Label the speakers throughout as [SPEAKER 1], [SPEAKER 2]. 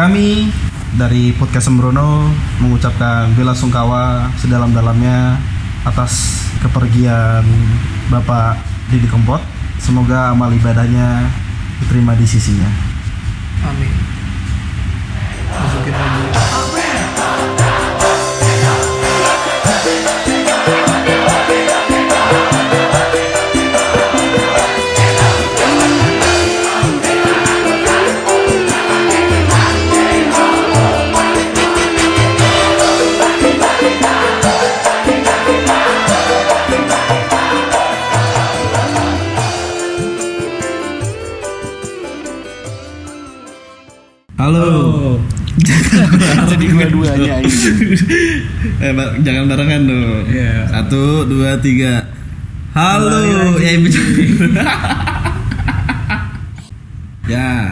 [SPEAKER 1] Kami dari podcast Sembrono mengucapkan bela sungkawa sedalam-dalamnya atas kepergian Bapak Didi Kempot. Semoga amal ibadahnya diterima di sisinya.
[SPEAKER 2] Amin. Masukin lagi.
[SPEAKER 1] Halo.
[SPEAKER 2] Jadi dua-duanya aja.
[SPEAKER 1] Eh, ba- jangan barengan dong.
[SPEAKER 2] Iya.
[SPEAKER 1] Satu, dua, tiga. Halo.
[SPEAKER 2] Kembali lagi.
[SPEAKER 1] Ya, ibu-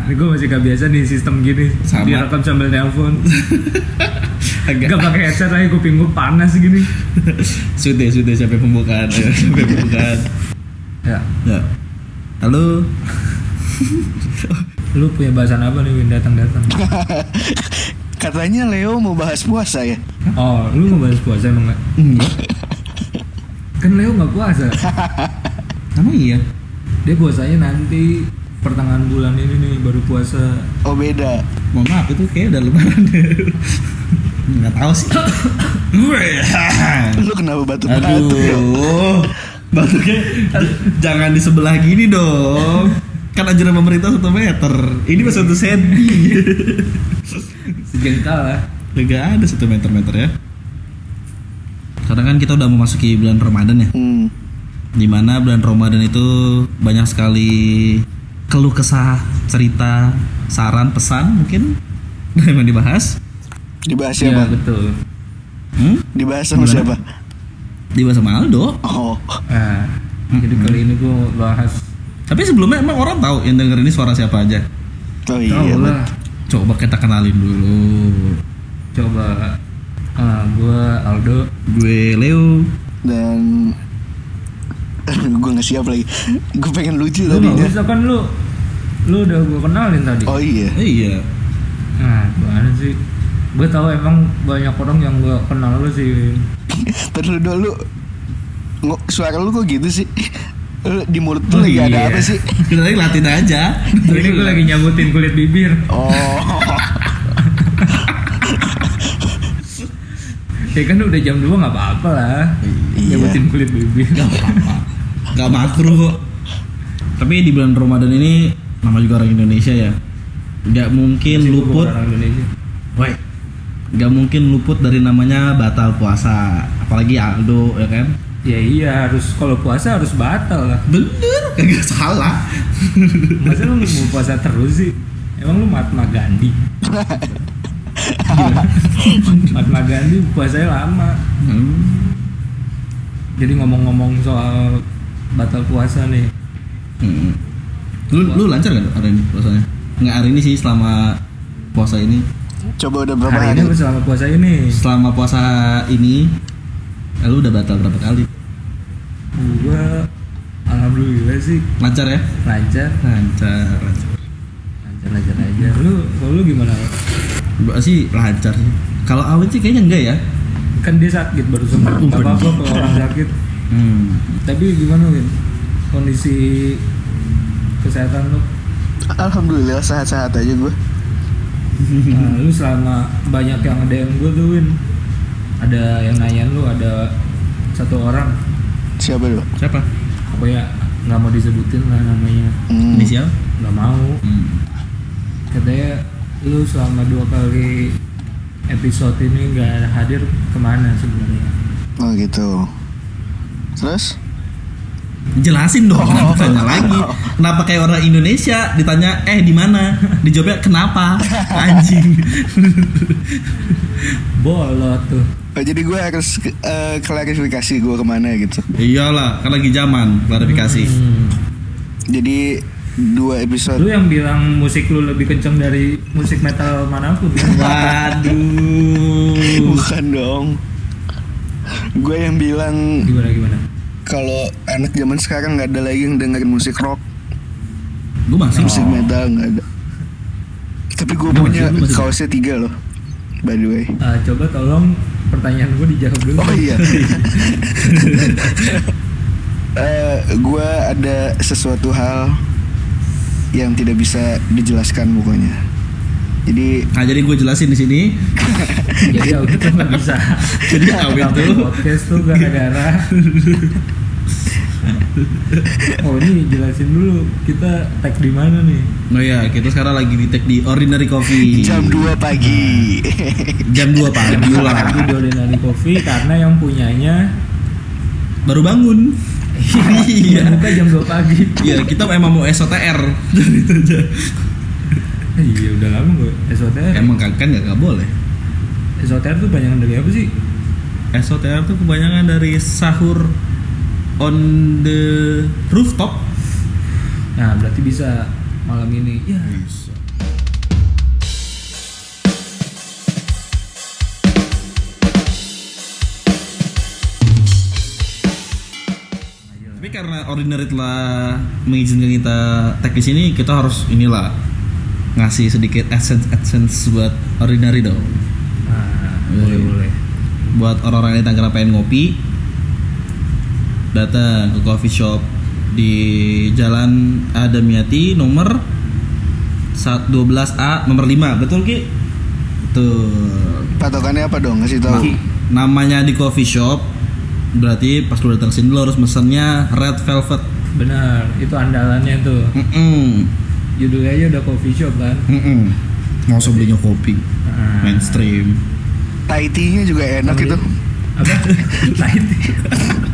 [SPEAKER 1] ya.
[SPEAKER 2] Gue masih gak biasa nih sistem gini.
[SPEAKER 1] Sama.
[SPEAKER 2] Direkam sambil telepon.
[SPEAKER 1] Agak
[SPEAKER 2] Gak pakai headset aja kuping gue panas gini.
[SPEAKER 1] sudah sudah sampai pembukaan ya, sampai pembukaan.
[SPEAKER 2] Ya.
[SPEAKER 1] Ya. Halo.
[SPEAKER 2] Lu punya bahasan apa nih Win datang-datang?
[SPEAKER 3] Katanya Leo mau bahas puasa ya.
[SPEAKER 2] Oh, lu mau bahas puasa emang gak? Kan Leo gak puasa.
[SPEAKER 1] Emang iya?
[SPEAKER 2] Dia puasanya nanti pertengahan bulan ini nih baru puasa.
[SPEAKER 3] Oh beda.
[SPEAKER 1] Mohon maaf itu kayak udah lebaran Nggak tahu sih
[SPEAKER 3] Lu kenapa batuk-batuk? Leo?
[SPEAKER 1] Aduh Batuknya j- Jangan di sebelah gini dong Kan ajaran pemerintah satu meter Ini mah satu senti
[SPEAKER 2] Sejengkal ya. lah.
[SPEAKER 1] Gak ada satu meter-meter ya Karena kan kita udah memasuki bulan Ramadan ya
[SPEAKER 3] Hmm.
[SPEAKER 1] Dimana bulan Ramadan itu banyak sekali keluh kesah, cerita, saran, pesan mungkin yang mau dibahas
[SPEAKER 3] Dibahas
[SPEAKER 2] Iya,
[SPEAKER 3] siapa?
[SPEAKER 2] betul.
[SPEAKER 1] hmm?
[SPEAKER 3] Dibahas sama
[SPEAKER 1] Gimana?
[SPEAKER 3] siapa?
[SPEAKER 1] Dibahas sama Aldo
[SPEAKER 3] Oh.
[SPEAKER 2] Nah, jadi kali ini gue bahas
[SPEAKER 1] Tapi sebelumnya emang orang tahu yang denger ini suara siapa aja.
[SPEAKER 3] Oh iya.
[SPEAKER 2] Tahu
[SPEAKER 3] Bet.
[SPEAKER 2] lah.
[SPEAKER 1] Coba kita kenalin dulu.
[SPEAKER 2] Coba ah, gue Aldo
[SPEAKER 1] Gue Leo.
[SPEAKER 3] Dan gue nggak siap lagi. Gue pengen lucu
[SPEAKER 2] Lu nggak
[SPEAKER 3] tadinya.
[SPEAKER 2] usah kan lu Lu udah gue kenalin tadi
[SPEAKER 3] Oh iya.
[SPEAKER 1] Eh, iya.
[SPEAKER 2] Nah gimana sih Gue tahu emang banyak orang yang gue kenal lu sih
[SPEAKER 3] Terus dulu Ngo- suara lu kok gitu sih? Lu Di mulut lu
[SPEAKER 2] Oh
[SPEAKER 3] lagi ada
[SPEAKER 2] iya.
[SPEAKER 3] apa sih?
[SPEAKER 1] Kita tadi latihan aja.
[SPEAKER 2] Jadi gue lagi nyabutin kulit bibir
[SPEAKER 3] Oh.
[SPEAKER 2] Ya kan udah jam 2 gak apa-apa lah
[SPEAKER 3] Iya.
[SPEAKER 2] Nyabutin kulit bibir
[SPEAKER 1] Gak apa-apa. Gak makro kok. Tapi di bulan Ramadan ini nama juga orang Indonesia ya. Gak mungkin luput.
[SPEAKER 2] Orang Indonesia
[SPEAKER 1] Woi. Gak mungkin luput dari namanya batal puasa. Apalagi Aldo ya kan.
[SPEAKER 2] Ya iya harus kalau puasa harus batal lah
[SPEAKER 1] Bener, kagak salah.
[SPEAKER 2] Masa lu mau puasa terus sih Emang lu Mahatma Gandhi Gila. Mahatma Gandhi puasanya lama
[SPEAKER 1] Hmm.
[SPEAKER 2] Jadi ngomong-ngomong soal batal puasa nih,
[SPEAKER 1] Hmm. Lu, lu lancar gak hari ini puasanya? Nggak hari ini sih selama puasa ini
[SPEAKER 3] Coba udah berapa
[SPEAKER 2] hari
[SPEAKER 3] hari?
[SPEAKER 2] ini apa selama puasa ini,
[SPEAKER 1] Selama puasa ini eh, Lu udah batal berapa kali?
[SPEAKER 2] gua alhamdulillah sih
[SPEAKER 1] Lancar ya?
[SPEAKER 2] lancar,
[SPEAKER 1] Lancar, lancar
[SPEAKER 2] lancar lancar aja. Lu, kalau lu gimana?
[SPEAKER 1] Gua sih lancar sih Kalau awet sih kayaknya enggak ya
[SPEAKER 2] Kan dia sakit baru sembuh. Gak apa-apa kalau orang sakit.
[SPEAKER 1] Hmm
[SPEAKER 2] Tapi gimana Win? Kondisi kesehatan lu?
[SPEAKER 3] Alhamdulillah sehat-sehat aja gue.
[SPEAKER 2] Nah, lu selama banyak yang DM gue tuh Win, ada yang nanya lu ada satu orang,
[SPEAKER 3] Siapa lu?
[SPEAKER 1] Siapa?
[SPEAKER 2] pokoknya nggak mau disebutin lah namanya,
[SPEAKER 3] Hmm.
[SPEAKER 1] Inisial?
[SPEAKER 2] nggak mau.
[SPEAKER 1] Hmm.
[SPEAKER 2] katanya lu selama dua kali episode ini nggak hadir kemana sebenarnya
[SPEAKER 3] Oh gitu. Terus?
[SPEAKER 1] Jelasin dong,
[SPEAKER 2] Oh.
[SPEAKER 1] kenapa tanya lagi Kenapa kayak orang Indonesia ditanya Eh di mana? Dijawabnya kenapa? Anjing
[SPEAKER 2] bolot tuh
[SPEAKER 3] Oh, jadi gue harus eh, klarifikasi gue kemana gitu.
[SPEAKER 1] Iyalah, kan lagi zaman klarifikasi
[SPEAKER 2] Hmm.
[SPEAKER 3] Jadi dua episode
[SPEAKER 2] lu yang bilang musik lu lebih kenceng dari musik metal manapun kan?
[SPEAKER 1] Waduh.
[SPEAKER 3] bukan dong. Gue yang bilang
[SPEAKER 2] gimana gimana
[SPEAKER 3] kalau anak zaman sekarang nggak ada lagi yang dengerin musik rock,
[SPEAKER 1] Gue masih
[SPEAKER 3] musik metal nggak ada. Tapi gue
[SPEAKER 1] Lu
[SPEAKER 3] punya
[SPEAKER 1] masih- lu masih-
[SPEAKER 3] kaosnya tiga loh. By the way.
[SPEAKER 2] Ah, coba tolong pertanyaan gue dijawab dulu.
[SPEAKER 3] Oh iya. Eh, gue ada sesuatu hal yang tidak bisa dijelaskan pokoknya. Jadi
[SPEAKER 1] Nah jadi gue jelasin di sini.
[SPEAKER 2] Jadi aku tuh nggak bisa.
[SPEAKER 1] Jadi Awin
[SPEAKER 2] Tapi
[SPEAKER 1] tuh
[SPEAKER 2] podcast tuh gara-gara. oh ini jelasin dulu kita tag di mana nih?
[SPEAKER 1] Oh iya, kita sekarang lagi di tag di Ordinary Coffee.
[SPEAKER 3] jam 2 pagi.
[SPEAKER 1] Jam 2 pagi lah.
[SPEAKER 2] Lagi Dolinari Coffee karena yang punyanya
[SPEAKER 1] Baru bangun. iya.
[SPEAKER 2] buka jam 2 pagi.
[SPEAKER 1] Iya, kita emang mau SOTR. Jadi itu aja.
[SPEAKER 2] Eh, Iya udah lama gue SOTR.
[SPEAKER 1] Emang kan kan nggak nggak boleh.
[SPEAKER 2] SOTR tuh banyak dari apa sih?
[SPEAKER 1] SOTR tuh kebanyakan dari sahur on the rooftop.
[SPEAKER 2] Nah berarti bisa malam ini. Ya.
[SPEAKER 1] Tapi karena ordinary telah mengizinkan kita tag di sini, kita harus inilah ngasih sedikit essence essence buat ordinary dong.
[SPEAKER 2] Nah,
[SPEAKER 1] Iya,
[SPEAKER 2] boleh
[SPEAKER 1] iya.
[SPEAKER 2] boleh.
[SPEAKER 1] Buat orang-orang yang Tangerang pengen ngopi, datang ke coffee shop di Jalan Adamiati nomor 12A nomor 5, betul Ki? Betul.
[SPEAKER 3] Patokannya apa dong? Kasih tahu.
[SPEAKER 1] Nah, namanya di coffee shop berarti pas lu datang sini lu harus mesennya red velvet.
[SPEAKER 2] Benar, itu andalannya tuh.
[SPEAKER 1] Mm-mm.
[SPEAKER 2] Judulnya aja udah coffee shop kan.
[SPEAKER 1] Mm-mm. Nggak usah belinya kopi
[SPEAKER 2] Nah,
[SPEAKER 1] mainstream.
[SPEAKER 3] Thai tea-nya juga enak
[SPEAKER 2] Tapi-
[SPEAKER 3] itu.
[SPEAKER 2] Apa? Nah, Thai tea.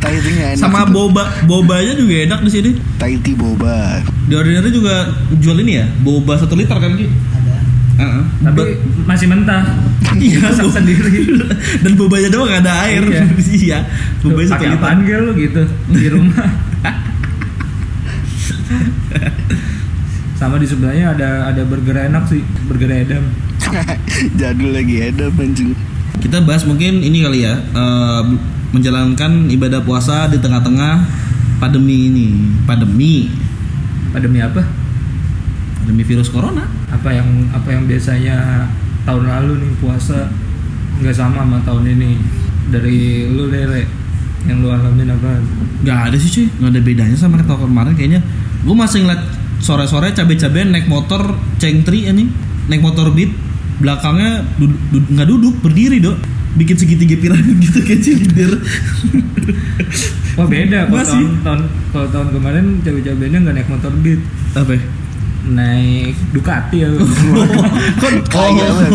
[SPEAKER 3] Thai tea-nya enak.
[SPEAKER 1] Sama
[SPEAKER 3] itu.
[SPEAKER 1] boba bobanya juga enak di sini.
[SPEAKER 3] Thai tea boba.
[SPEAKER 1] Di ordinary juga jual ini ya, boba satu liter kan Ki? Ada.
[SPEAKER 2] Tapi masih mentah.
[SPEAKER 1] Iya,
[SPEAKER 2] Masak
[SPEAKER 1] Bu.
[SPEAKER 2] sendiri.
[SPEAKER 1] Dan bobanya doang nggak ada air.
[SPEAKER 2] Iya.
[SPEAKER 1] Iya. Bobanya satu
[SPEAKER 2] Pakai
[SPEAKER 1] liter.
[SPEAKER 2] apaan gel lu gitu di rumah. Sama di sebelahnya ada ada burger enak sih, burger Edam.
[SPEAKER 3] Jadul lagi ada anjing.
[SPEAKER 1] Kita bahas mungkin ini kali ya, eh, menjalankan ibadah puasa di tengah-tengah pandemi ini. Pandemi
[SPEAKER 2] Pandemi apa?
[SPEAKER 1] demi virus corona.
[SPEAKER 2] Apa yang apa yang biasanya tahun lalu nih puasa nggak sama sama tahun ini. Dari lu Rere yang lu alamin apa?
[SPEAKER 1] Gak ada sih cuy, gak ada bedanya sama tahun kemarin kayaknya Gue masih ngeliat sore-sore cabe-cabean naik motor cengtri anjing Naik motor beat, belakangnya dud- dud- nggak duduk, berdiri dok Bikin segitiga piramid gitu kayak cilindir
[SPEAKER 2] Wah Oh, beda kalau
[SPEAKER 1] Masih.
[SPEAKER 2] tahun, tahun kalau tahun kemarin cewek-ceweknya nggak naik motor beat,
[SPEAKER 1] Apa ya?
[SPEAKER 2] naik Ducati ya.
[SPEAKER 1] Kon-
[SPEAKER 3] Kaya banget.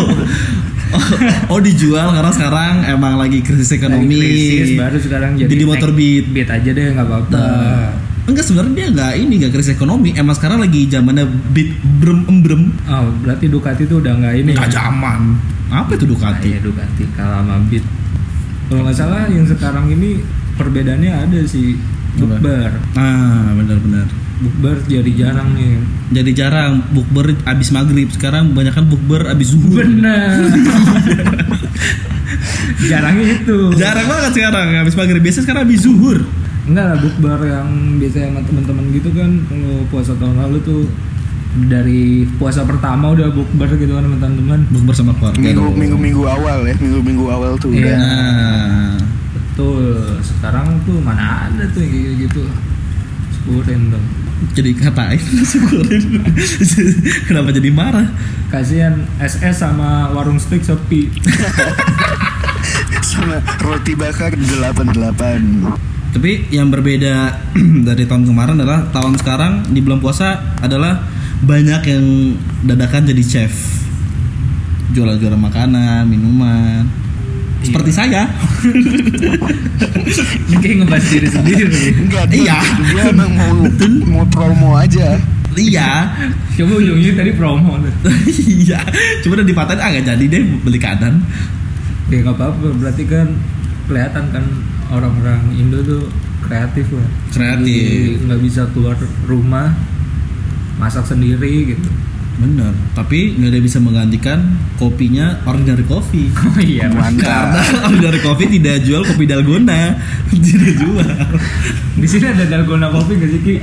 [SPEAKER 1] oh, oh, dijual karena sekarang emang lagi krisis ekonomi
[SPEAKER 2] Lagi krisis, baru sekarang jadi,
[SPEAKER 1] Jadi
[SPEAKER 2] naik
[SPEAKER 1] motor beat.
[SPEAKER 2] Beat aja deh nggak apa-apa.
[SPEAKER 1] Nah, Enggak sebenarnya dia nggak ini nggak krisis ekonomi emang sekarang lagi zamannya beat brem embrem
[SPEAKER 2] Oh, berarti Ducati tuh udah nggak ini.
[SPEAKER 1] nggak zaman apa itu
[SPEAKER 2] Nah,
[SPEAKER 1] Ducati
[SPEAKER 2] iya, Ducati kalah sama beat. Kalau nggak salah yang sekarang ini perbedaannya ada sih
[SPEAKER 1] Apa?
[SPEAKER 2] bukber.
[SPEAKER 1] Ah, benar-benar.
[SPEAKER 2] Bukber jadi jarang ya. nih.
[SPEAKER 1] Jadi jarang bukber abis maghrib. Sekarang banyak kan bukber abis zuhur.
[SPEAKER 2] Benar. jarang itu.
[SPEAKER 1] Jarang banget sekarang abis maghrib. Biasanya sekarang abis zuhur.
[SPEAKER 2] Enggak lah bukber yang biasa sama teman-teman gitu kan kalau puasa tahun lalu tuh dari puasa pertama udah bukber gitu kan sama teman-teman.
[SPEAKER 1] Bukber sama keluarga.
[SPEAKER 3] Minggu
[SPEAKER 1] dong.
[SPEAKER 3] minggu minggu awal ya, minggu minggu awal tuh
[SPEAKER 2] Iya.
[SPEAKER 3] udah.
[SPEAKER 1] Nah,
[SPEAKER 2] Betul. Sekarang tuh mana ada tuh yang kayak gitu. Syukurin dong.
[SPEAKER 1] jadi katain syukurin. Kenapa jadi marah?
[SPEAKER 2] Kasihan SS sama warung steak sepi.
[SPEAKER 3] Sama roti bakar 88.
[SPEAKER 1] Tapi yang berbeda dari tahun kemarin adalah tahun sekarang di bulan puasa adalah banyak yang dadakan jadi chef. Jualan-jualan makanan, minuman. Seperti saya.
[SPEAKER 2] Ini kayak ngebahas diri sendiri.
[SPEAKER 3] Enggak,
[SPEAKER 1] Iya.
[SPEAKER 3] dia, dia emang mau mau promo aja.
[SPEAKER 1] Iya,
[SPEAKER 2] Coba ujungnya tadi promo.
[SPEAKER 1] iya. Cuma udah dipatahin ah nggak jadi deh beli kanan.
[SPEAKER 2] Ya nggak apa-apa. Berarti kan kelihatan kan orang-orang Indo tuh kreatif lah.
[SPEAKER 1] Kreatif.
[SPEAKER 2] Jadi nggak bisa keluar rumah masak sendiri gitu.
[SPEAKER 1] Bener. Tapi nggak ada yang bisa menggantikan kopinya ordinary coffee.
[SPEAKER 2] Oh iya.
[SPEAKER 1] Karena
[SPEAKER 3] Mantap.
[SPEAKER 1] ordinary coffee tidak jual kopi dalgona, tidak jual.
[SPEAKER 2] Di sini ada dalgona kopi nggak sih Ki?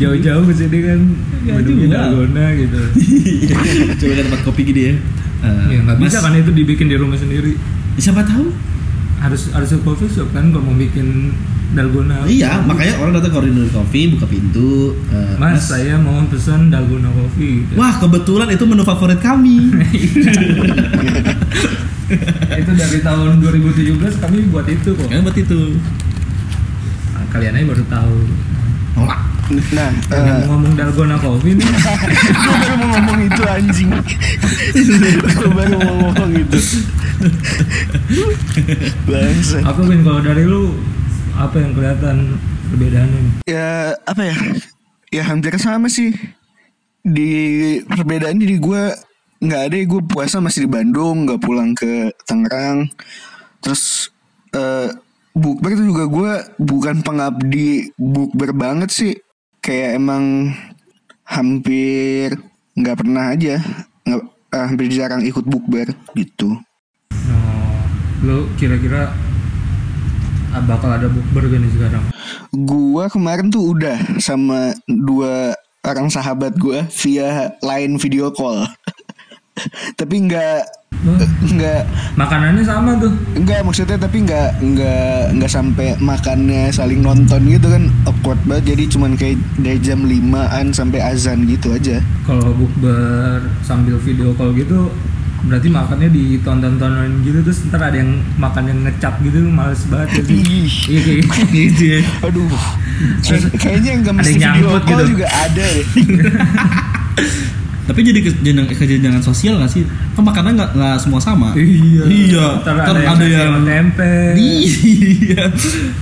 [SPEAKER 2] jauh-jauh ke sini kan
[SPEAKER 1] Nggak
[SPEAKER 2] minumnya
[SPEAKER 1] juga.
[SPEAKER 2] dalgona gitu
[SPEAKER 1] coba ke tempat kopi gini ya Eh,
[SPEAKER 2] ya nggak
[SPEAKER 1] Mas,
[SPEAKER 2] bisa kan itu dibikin di rumah sendiri
[SPEAKER 1] siapa tahu
[SPEAKER 2] harus harus ke coffee shop kan kalau mau bikin dalgona
[SPEAKER 1] iya makanya orang datang ke koridor kopi buka pintu eh,
[SPEAKER 2] mas, saya mau pesan dalgona coffee gitu.
[SPEAKER 1] wah kebetulan itu menu favorit kami
[SPEAKER 2] Iya. itu dari tahun 2017 kami buat itu kok
[SPEAKER 1] Kayaknya buat itu
[SPEAKER 2] Nah, kalian aja baru tahu
[SPEAKER 1] Eh. nolak
[SPEAKER 3] Nah,
[SPEAKER 2] Yang
[SPEAKER 3] eh,
[SPEAKER 2] ngomong dalgona coffee nih
[SPEAKER 3] gue baru mau ngomong itu anjing. gue baru mau ngomong itu. Bangsa.
[SPEAKER 2] apa Win kalau dari lu apa yang kelihatan perbedaannya nih?
[SPEAKER 3] Ya apa ya? Ya hampir sama sih. Di perbedaan di gue nggak ada gue puasa masih di Bandung, nggak pulang ke Tangerang. Terus eh bukber tuh juga gue bukan pengabdi bukber banget sih. Kayak emang hampir nggak pernah aja, nggak eh, hampir jarang ikut bukber gitu.
[SPEAKER 2] Oh, lu kira-kira ah, bakal ada bukber gak nih sekarang?
[SPEAKER 3] Gua kemarin tuh udah sama dua orang sahabat gua via line video call. tapi nggak
[SPEAKER 2] Wah,
[SPEAKER 1] Eh.
[SPEAKER 3] nggak
[SPEAKER 2] makanannya sama tuh.
[SPEAKER 3] nggak maksudnya tapi nggak nggak nggak sampai makannya saling nonton gitu kan awkward banget jadi cuman kayak dari jam 5an sampai azan gitu aja
[SPEAKER 2] Kalau bukber sambil video call gitu berarti makannya ditonton-tonton gitu terus ntar ada yang makan yang ngecap gitu males banget ya sih.
[SPEAKER 3] Ih.
[SPEAKER 2] Iya kayak
[SPEAKER 1] gitu ya
[SPEAKER 3] aduh Kayak- kayaknya nggak
[SPEAKER 2] Ada
[SPEAKER 3] mesti
[SPEAKER 2] yang
[SPEAKER 3] video
[SPEAKER 2] nyangkut
[SPEAKER 3] call
[SPEAKER 2] gitu.
[SPEAKER 3] juga ada deh
[SPEAKER 1] tapi jadi kejenjang kejenjangan sosial gak sih kan makanan nggak nggak semua sama
[SPEAKER 2] Iya.
[SPEAKER 1] iya
[SPEAKER 2] Ntar ada, yang, yang tempe.
[SPEAKER 1] iya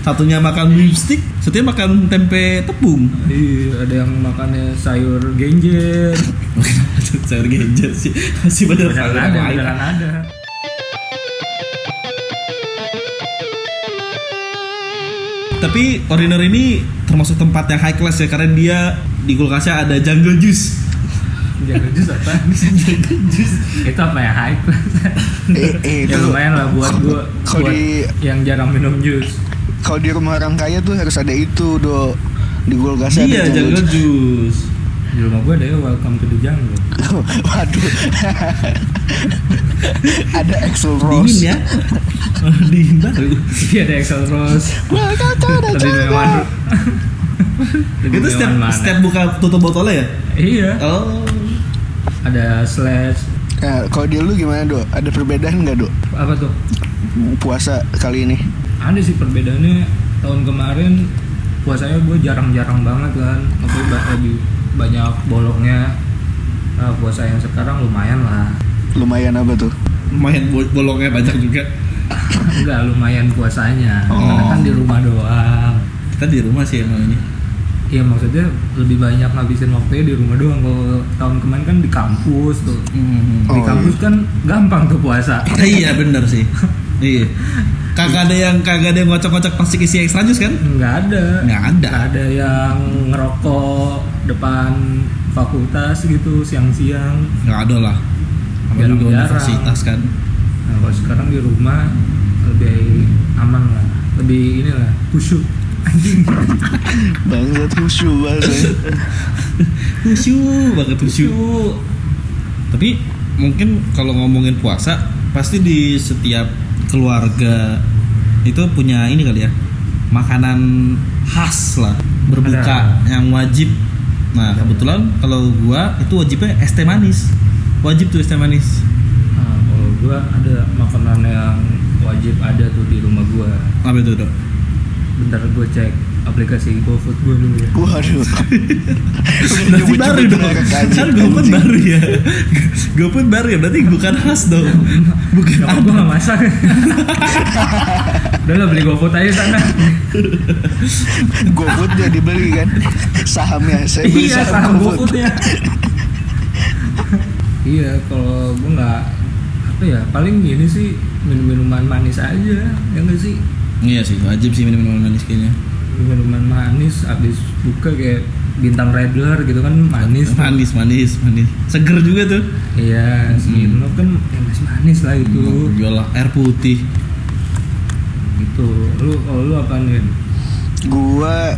[SPEAKER 1] satunya makan lipstick satunya makan tempe tepung
[SPEAKER 2] Iya, ada yang makannya sayur genjer.
[SPEAKER 1] sayur genjer sih masih bener
[SPEAKER 2] Beneran ada, beneran ada.
[SPEAKER 1] tapi Ordiner ini termasuk tempat yang high class ya karena dia di kulkasnya ada jungle juice
[SPEAKER 2] Jangan jus apa? Itu apa ya hype?
[SPEAKER 3] eh, eh,
[SPEAKER 2] ya
[SPEAKER 3] itu
[SPEAKER 2] lumayan lah buat gua
[SPEAKER 3] Kalau
[SPEAKER 2] buat
[SPEAKER 3] di-
[SPEAKER 2] yang jarang minum jus.
[SPEAKER 3] kalau di rumah orang kaya tuh harus ada itu do di Golgasa
[SPEAKER 1] iya
[SPEAKER 3] ada
[SPEAKER 1] jungle juice
[SPEAKER 2] Di rumah gua ada ya welcome to the jungle.
[SPEAKER 3] Waduh. Ada Axel Rose.
[SPEAKER 1] dingin ya dingin banget
[SPEAKER 2] Iya ada Excel Rose.
[SPEAKER 3] Welcome to the
[SPEAKER 2] Tadi
[SPEAKER 3] jungle.
[SPEAKER 2] memang
[SPEAKER 1] itu setiap setiap buka tutup botolnya ya
[SPEAKER 2] Iya,
[SPEAKER 1] oh
[SPEAKER 2] ada slash
[SPEAKER 3] Nah, kalau di lu gimana, Dok? Ada perbedaan nggak, Dok?
[SPEAKER 2] apa tuh?
[SPEAKER 3] Puasa kali ini.
[SPEAKER 2] Ada sih perbedaannya tahun kemarin puasanya gue jarang-jarang banget kan, tapi ba- lebih banyak bolongnya. Nah, puasa yang sekarang lumayan lah.
[SPEAKER 3] Lumayan apa tuh?
[SPEAKER 1] lumayan bo- bolongnya banyak juga
[SPEAKER 2] Enggak lumayan puasanya, karena
[SPEAKER 3] Oh.
[SPEAKER 2] kan di rumah doang.
[SPEAKER 1] kita di rumah sih emangnya
[SPEAKER 2] Iya maksudnya lebih banyak ngabisin waktunya di rumah doang. Kalau tahun kemarin kan di kampus tuh.
[SPEAKER 1] hmm.
[SPEAKER 2] Di
[SPEAKER 3] Oh,
[SPEAKER 2] kampus kan gampang tuh puasa.
[SPEAKER 1] iya bener sih iya kagak ada yang kagak ada yang ngocok-ngocok plastik isi extra jus kan
[SPEAKER 2] Nggak ada.
[SPEAKER 1] Nggak ada.
[SPEAKER 2] Nggak ada yang ngerokok depan fakultas gitu siang-siang.
[SPEAKER 1] nggak ada lah Sama
[SPEAKER 2] Jarang-jarang.
[SPEAKER 1] juga universitas kan
[SPEAKER 2] Nah, kalau sekarang di rumah lebih aman lah. Lebih ini lah, khusyuk.
[SPEAKER 3] Bangsat khusyuk bahasa.
[SPEAKER 1] khusyuk banget khusyuk tapi mungkin kalau ngomongin puasa pasti di setiap keluarga itu punya ini kali ya makanan khas lah berbuka yang wajib nah kebetulan kalau gua itu wajibnya es teh manis wajib tuh es teh manis
[SPEAKER 2] Nah, kalau gua ada makanan yang wajib ada tuh di rumah gua.
[SPEAKER 1] apa itu dok
[SPEAKER 2] Bentar gua cek aplikasi GoFood gua dulu ya.
[SPEAKER 3] Waduh.
[SPEAKER 1] berarti baru dong kan GoFood
[SPEAKER 3] Anjing.
[SPEAKER 1] baru ya GoFood baru ya berarti bukan khas dong bukan
[SPEAKER 2] Nyokap gue gak masak Udah lah beli GoFood aja sana
[SPEAKER 3] GoFood dia dibeli kan sahamnya. Saya beli
[SPEAKER 2] Iya saham
[SPEAKER 3] GoFood.
[SPEAKER 2] GoFoodnya Iya kalau gue gak Apa ya paling gini sih Minum-minuman manis aja Ya gak sih
[SPEAKER 1] iya sih wajib sih minum-minuman manis kayaknya
[SPEAKER 2] Minuman manis abis buka kayak Bintang Redler gitu kan manis tuh.
[SPEAKER 1] manis manis manis seger juga tuh
[SPEAKER 2] Iya Smirnoff kan ya masih manis lah itu
[SPEAKER 1] Yolah, air putih
[SPEAKER 2] Gitu Lu kalau lu apaan Win?
[SPEAKER 3] Gua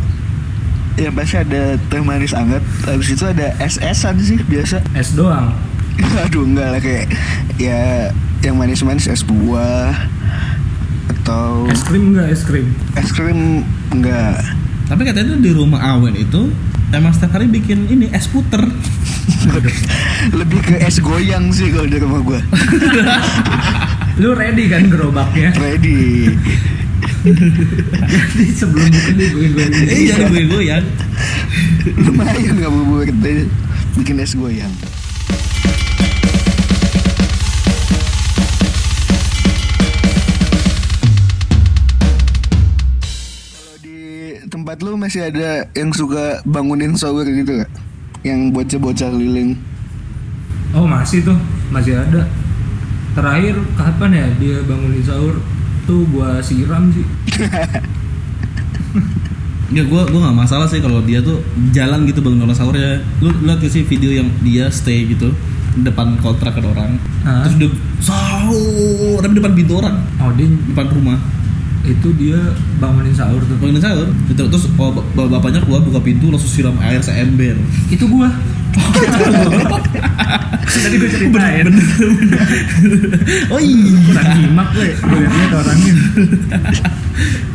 [SPEAKER 3] ya pasti ada teh manis anget habis itu ada es-esan sih biasa
[SPEAKER 2] es doang
[SPEAKER 3] aduh enggak lah kayak ya yang manis-manis es buah atau
[SPEAKER 2] es krim enggak es krim
[SPEAKER 3] es krim enggak
[SPEAKER 1] Tapi katanya tuh di rumah Awen itu emang setiap hari bikin ini es puter.
[SPEAKER 3] lebih ke es goyang sih kalau di rumah gua
[SPEAKER 2] lu ready kan gerobaknya
[SPEAKER 3] ready
[SPEAKER 2] jadi sebelum buka dia gue gue
[SPEAKER 1] Iya, gue gue ya.
[SPEAKER 3] lumayan nggak buburit bikin es goyang Kalau di tempat lu masih ada yang suka bangunin shower gitu gak? yang bocah-bocah keliling
[SPEAKER 2] oh masih tuh masih ada terakhir kapan ya dia bangunin sahur tuh gua siram sih
[SPEAKER 1] Enggak, gue gue Ya, nggak masalah sih kalau dia tuh jalan gitu bangun orang sahur ya. Lu lu lihat nggak sih video yang dia stay gitu depan kontrakan orang.
[SPEAKER 2] Hah?
[SPEAKER 1] Terus dia sahur tapi depan pintu orang,
[SPEAKER 2] oh dia
[SPEAKER 1] depan rumah.
[SPEAKER 2] itu dia bangunin sahur tuh
[SPEAKER 1] Bangunin sahur, gitu. terus oh, bap- bapaknya keluar buka pintu langsung siram air seember.
[SPEAKER 2] itu gua tadi gua ceritain Oh. bener,
[SPEAKER 1] oh iya.
[SPEAKER 2] kurang nyimak gue gue liat orangnya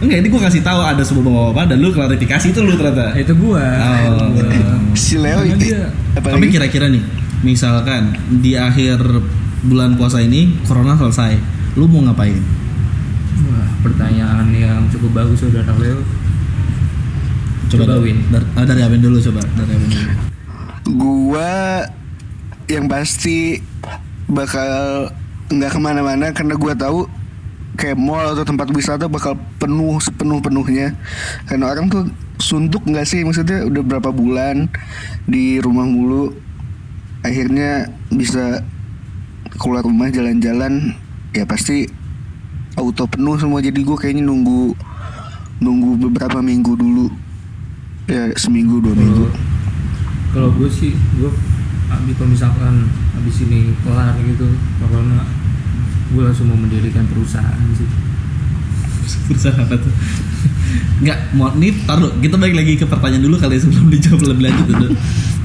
[SPEAKER 1] Enggak, ini gue kasih tahu ada sebuah bapak-bapak dan lu klarifikasi itu lu ternyata.
[SPEAKER 2] Nah, itu gua
[SPEAKER 1] Oh.
[SPEAKER 2] itu gua.
[SPEAKER 3] si Leo
[SPEAKER 2] Karena
[SPEAKER 3] itu
[SPEAKER 2] dia-
[SPEAKER 3] apa
[SPEAKER 1] Tapi
[SPEAKER 3] lagi
[SPEAKER 1] kira-kira nih, misalkan di akhir bulan puasa ini corona selesai, lu mau ngapain?
[SPEAKER 2] Wah, pertanyaan yang cukup bagus saudara Leo. Coba
[SPEAKER 1] dari-
[SPEAKER 2] Win.
[SPEAKER 1] dar- ah, dari Aben dulu coba, dari Aben dulu.
[SPEAKER 3] gua yang pasti bakal nggak kemana-mana karena gua tahu kayak mall atau tempat wisata bakal penuh sepenuh penuhnya karena orang tuh suntuk nggak sih maksudnya udah berapa bulan di rumah mulu akhirnya bisa keluar rumah jalan-jalan ya pasti auto penuh semua jadi gue kayaknya nunggu nunggu beberapa minggu dulu ya seminggu dua minggu
[SPEAKER 2] Kalau- Kalau gue sih, gue abis kalau misalkan abis ini kelar gitu corona, gue langsung mau mendirikan perusahaan sih.
[SPEAKER 1] Susah apa tuh? Enggak, mau nih taruh kita balik lagi ke pertanyaan dulu kali ya, sebelum dijawab lebih lanjut dulu.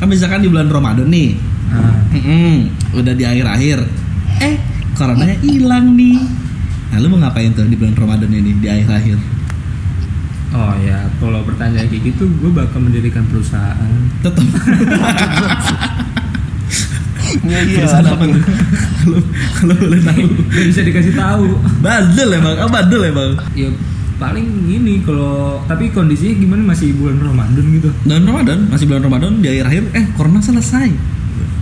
[SPEAKER 1] Kan misalkan di bulan Ramadan nih,
[SPEAKER 2] Nah,
[SPEAKER 1] Hmm. Mm-mm, udah di akhir-akhir. Eh, coronanya hilang nih. Nah, lu mau ngapain tuh di bulan Ramadan ini di akhir-akhir?
[SPEAKER 2] oh ya, kalau pertanyaan kayak gitu, gue bakal mendirikan perusahaan.
[SPEAKER 1] Tetap
[SPEAKER 3] Ya, iya,
[SPEAKER 1] perusahaan apa tuh? Kalau kalau boleh tahu.
[SPEAKER 2] Gak bisa dikasih tahu.
[SPEAKER 1] Badel emang, ah badel emang.
[SPEAKER 2] ya paling ini kalau tapi kondisinya gimana masih bulan Ramadan gitu.
[SPEAKER 1] Dan Ramadan, masih bulan Ramadan di akhir-akhir eh corona selesai.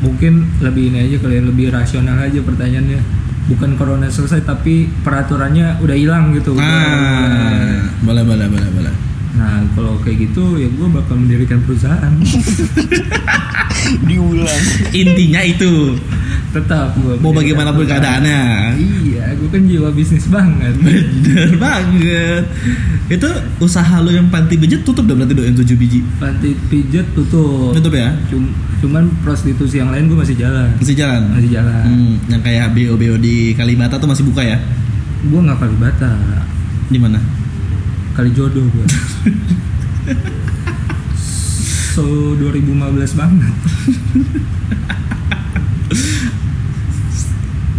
[SPEAKER 2] Mungkin lebih ini aja kalian lebih rasional aja pertanyaannya. Bukan corona selesai tapi peraturannya udah hilang gitu. udah-
[SPEAKER 1] Ah, boleh boleh boleh boleh.
[SPEAKER 2] Nah, kalau kayak gitu ya gue bakal mendirikan perusahaan.
[SPEAKER 3] diulang
[SPEAKER 1] Intinya itu
[SPEAKER 2] Tetap gue.
[SPEAKER 3] Iya,
[SPEAKER 1] mau bagaimanapun keadaannya.
[SPEAKER 2] Iya, gue kan jiwa bisnis banget.
[SPEAKER 1] Bener banget. Itu usaha lu yang panti pijit tutup dong berarti doain 7 biji.
[SPEAKER 2] Panti pijat tutup.
[SPEAKER 1] Tutup ya.
[SPEAKER 2] Cum- cuman prostitusi yang lain gue masih jalan.
[SPEAKER 1] Masih jalan.
[SPEAKER 2] Masih jalan.
[SPEAKER 1] Hmm, yang kayak BO BO di Kalibata tuh masih buka ya?
[SPEAKER 2] Gue nggak kali bata,
[SPEAKER 1] Di mana?
[SPEAKER 2] kali jodoh gue. so 2015 banget.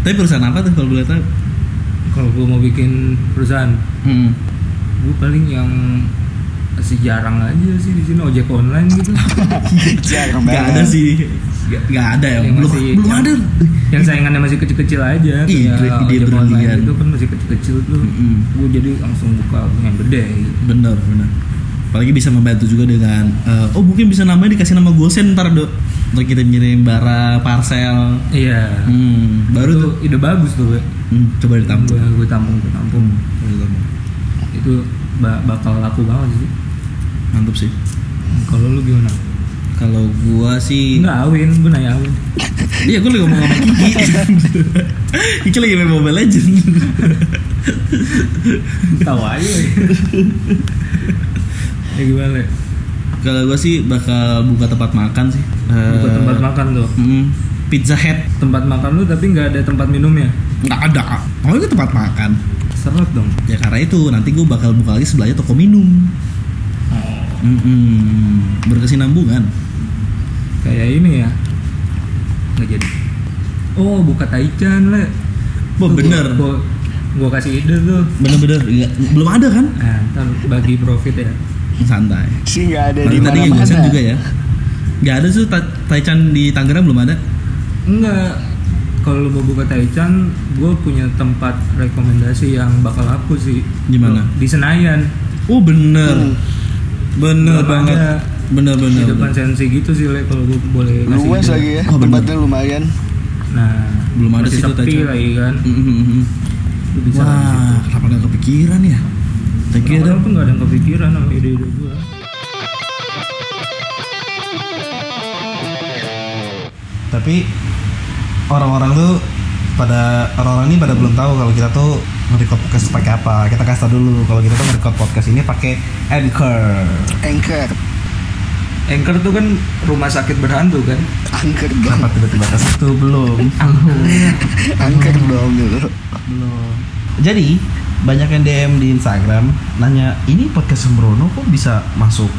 [SPEAKER 1] Tapi perusahaan apa tuh kalau boleh tahu?
[SPEAKER 2] Kalau gue mau bikin perusahaan,
[SPEAKER 1] Hmm.
[SPEAKER 2] gue paling yang masih jarang aja sih di sini ojek online gitu. Iya,
[SPEAKER 3] jarang
[SPEAKER 1] Gak ada sih. Gak, gak ada ya.
[SPEAKER 2] Yang
[SPEAKER 1] Belum,
[SPEAKER 2] Iya, masih
[SPEAKER 1] belum
[SPEAKER 2] yang-
[SPEAKER 1] ada.
[SPEAKER 2] yang saingannya masih kecil-kecil aja
[SPEAKER 1] Ih,
[SPEAKER 2] kayak
[SPEAKER 1] ide- ide
[SPEAKER 2] ojek online
[SPEAKER 1] brilian.
[SPEAKER 2] itu kan masih kecil-kecil tuh
[SPEAKER 1] Mm-mm.
[SPEAKER 2] gue jadi langsung buka yang gede gitu.
[SPEAKER 1] Hmm, Bener bener. Apalagi bisa membantu juga dengan eh, oh mungkin bisa namanya dikasih nama gosen ntar dok untuk kirim kirim bara parcel.
[SPEAKER 2] iya
[SPEAKER 1] Hmm, baru
[SPEAKER 2] itu
[SPEAKER 1] tuh
[SPEAKER 2] ide bagus tuh gue
[SPEAKER 1] Hmm, coba ditampung.
[SPEAKER 2] gue tampung gue tampung
[SPEAKER 1] Coba ditampung.
[SPEAKER 2] itu ba- bakal laku banget sih
[SPEAKER 1] Mantap sih.
[SPEAKER 2] kalau lu gimana
[SPEAKER 1] Kalau gua sih
[SPEAKER 2] enggak awin gue nanya awin
[SPEAKER 1] Iya gue lagi ngomong sama Kiki Iya. Kiki lagi main Mobile Legend
[SPEAKER 2] tahu aja lagi. ya gimana Le?
[SPEAKER 1] Kalau gue sih bakal buka tempat makan sih
[SPEAKER 2] buka tempat makan tuh
[SPEAKER 1] mm, Pizza Hut
[SPEAKER 2] tempat makan lu tapi nggak ada tempat minumnya
[SPEAKER 1] Nggak ada Mau itu tempat makan
[SPEAKER 2] seret dong
[SPEAKER 1] Ya karena itu nanti gue bakal buka lagi sebelahnya toko minum Mm-mm. berkesinambungan
[SPEAKER 2] kayak ini ya nggak jadi oh buka taichan le
[SPEAKER 1] Wah,
[SPEAKER 2] Tuh,
[SPEAKER 1] Oh, bener.
[SPEAKER 2] gua, gua- gua kasih ide tuh
[SPEAKER 1] bener-bener nggak- belum ada kan
[SPEAKER 2] nah, ntar bagi profit ya
[SPEAKER 1] santai
[SPEAKER 3] sih nggak ada di
[SPEAKER 1] Paling tadi yang
[SPEAKER 3] mana-mana
[SPEAKER 1] gosen juga ya nggak ada tuh Ta- Taichan di Tangerang belum ada
[SPEAKER 2] enggak kalau lu mau buka taichan gue punya tempat rekomendasi yang bakal aku sih
[SPEAKER 1] Di mana?
[SPEAKER 2] di Senayan
[SPEAKER 1] oh bener bener
[SPEAKER 2] Belum
[SPEAKER 1] banget
[SPEAKER 2] ada.
[SPEAKER 1] bener
[SPEAKER 2] di
[SPEAKER 1] bener,
[SPEAKER 2] depan
[SPEAKER 1] bener.
[SPEAKER 2] sensi gitu sih le kalau gue boleh kasih
[SPEAKER 3] luas
[SPEAKER 2] ide.
[SPEAKER 3] lagi ya
[SPEAKER 1] Oh, bener.
[SPEAKER 3] tempatnya lumayan
[SPEAKER 2] nah
[SPEAKER 1] Belum ada
[SPEAKER 2] masih
[SPEAKER 1] situ
[SPEAKER 2] sepi
[SPEAKER 1] Taichan.
[SPEAKER 2] lagi kan
[SPEAKER 1] Mm-mm-mm.
[SPEAKER 2] lu bisa lagi situ.
[SPEAKER 1] Wah, kenapa nggak kepikiran ya? Thank you
[SPEAKER 2] Orang
[SPEAKER 1] dong.
[SPEAKER 2] pun gak ada yang kepikiran sama ide-ide gue
[SPEAKER 4] tapi orang-orang tuh pada orang-orang ini pada belum tahu kalau kita tuh nge-record podcast pakai apa kita kasih tau dulu kalau kita tuh nge-record podcast ini pakai anchor
[SPEAKER 3] anchor
[SPEAKER 2] Anchor tuh kan rumah sakit berhantu kan
[SPEAKER 3] anchor dong
[SPEAKER 4] kenapa tiba-tiba ke situ belum
[SPEAKER 3] anchor dong gitu
[SPEAKER 4] belum jadi banyak yang DM di Instagram nanya ini podcast Sembrono kok bisa masuk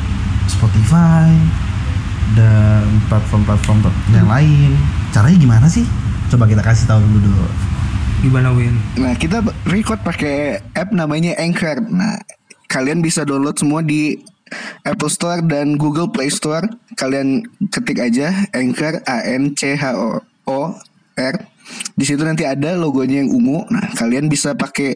[SPEAKER 4] Spotify dan platform-platform yang lain caranya gimana sih coba kita kasih tahu dulu dulu
[SPEAKER 2] Gimana Win?
[SPEAKER 3] Nah, kita b- record pakai app namanya Anchor. Nah, kalian bisa download semua di Apple Store dan Google Play Store. Kalian ketik aja Anchor A N C H O O R. Di situ nanti ada logonya yang ungu. Nah, kalian bisa pakai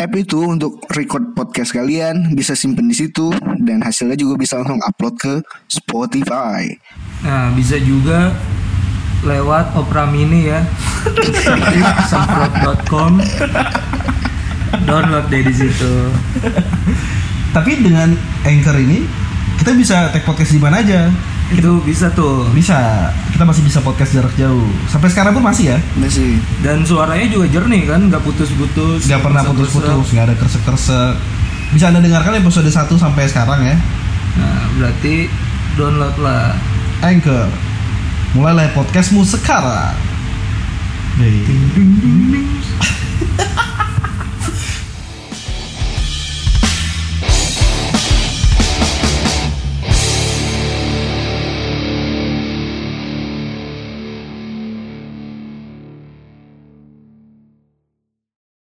[SPEAKER 3] app itu untuk record podcast kalian, bisa simpen di situ dan hasilnya juga bisa langsung upload ke Spotify.
[SPEAKER 2] Nah, bisa juga lewat Opera Mini ya. semprot.com download deh di situ.
[SPEAKER 4] Tapi dengan Anchor ini kita bisa take podcast di mana aja.
[SPEAKER 2] Itu bisa tuh.
[SPEAKER 4] Bisa. Kita masih bisa podcast jarak jjauh. Sampai sekarang pun masih ya.
[SPEAKER 3] Masih.
[SPEAKER 2] Dan suaranya juga jernih kan, nggak putus-putus.
[SPEAKER 4] Nggak pernah putus-putus, nggak ada kersek-kersek. Bisa Anda dengarkan episode 1 sampai sekarang ya.
[SPEAKER 2] Nah, berarti download lah.
[SPEAKER 4] Anchor. Mulailah podcastmu sekarang. Yoi.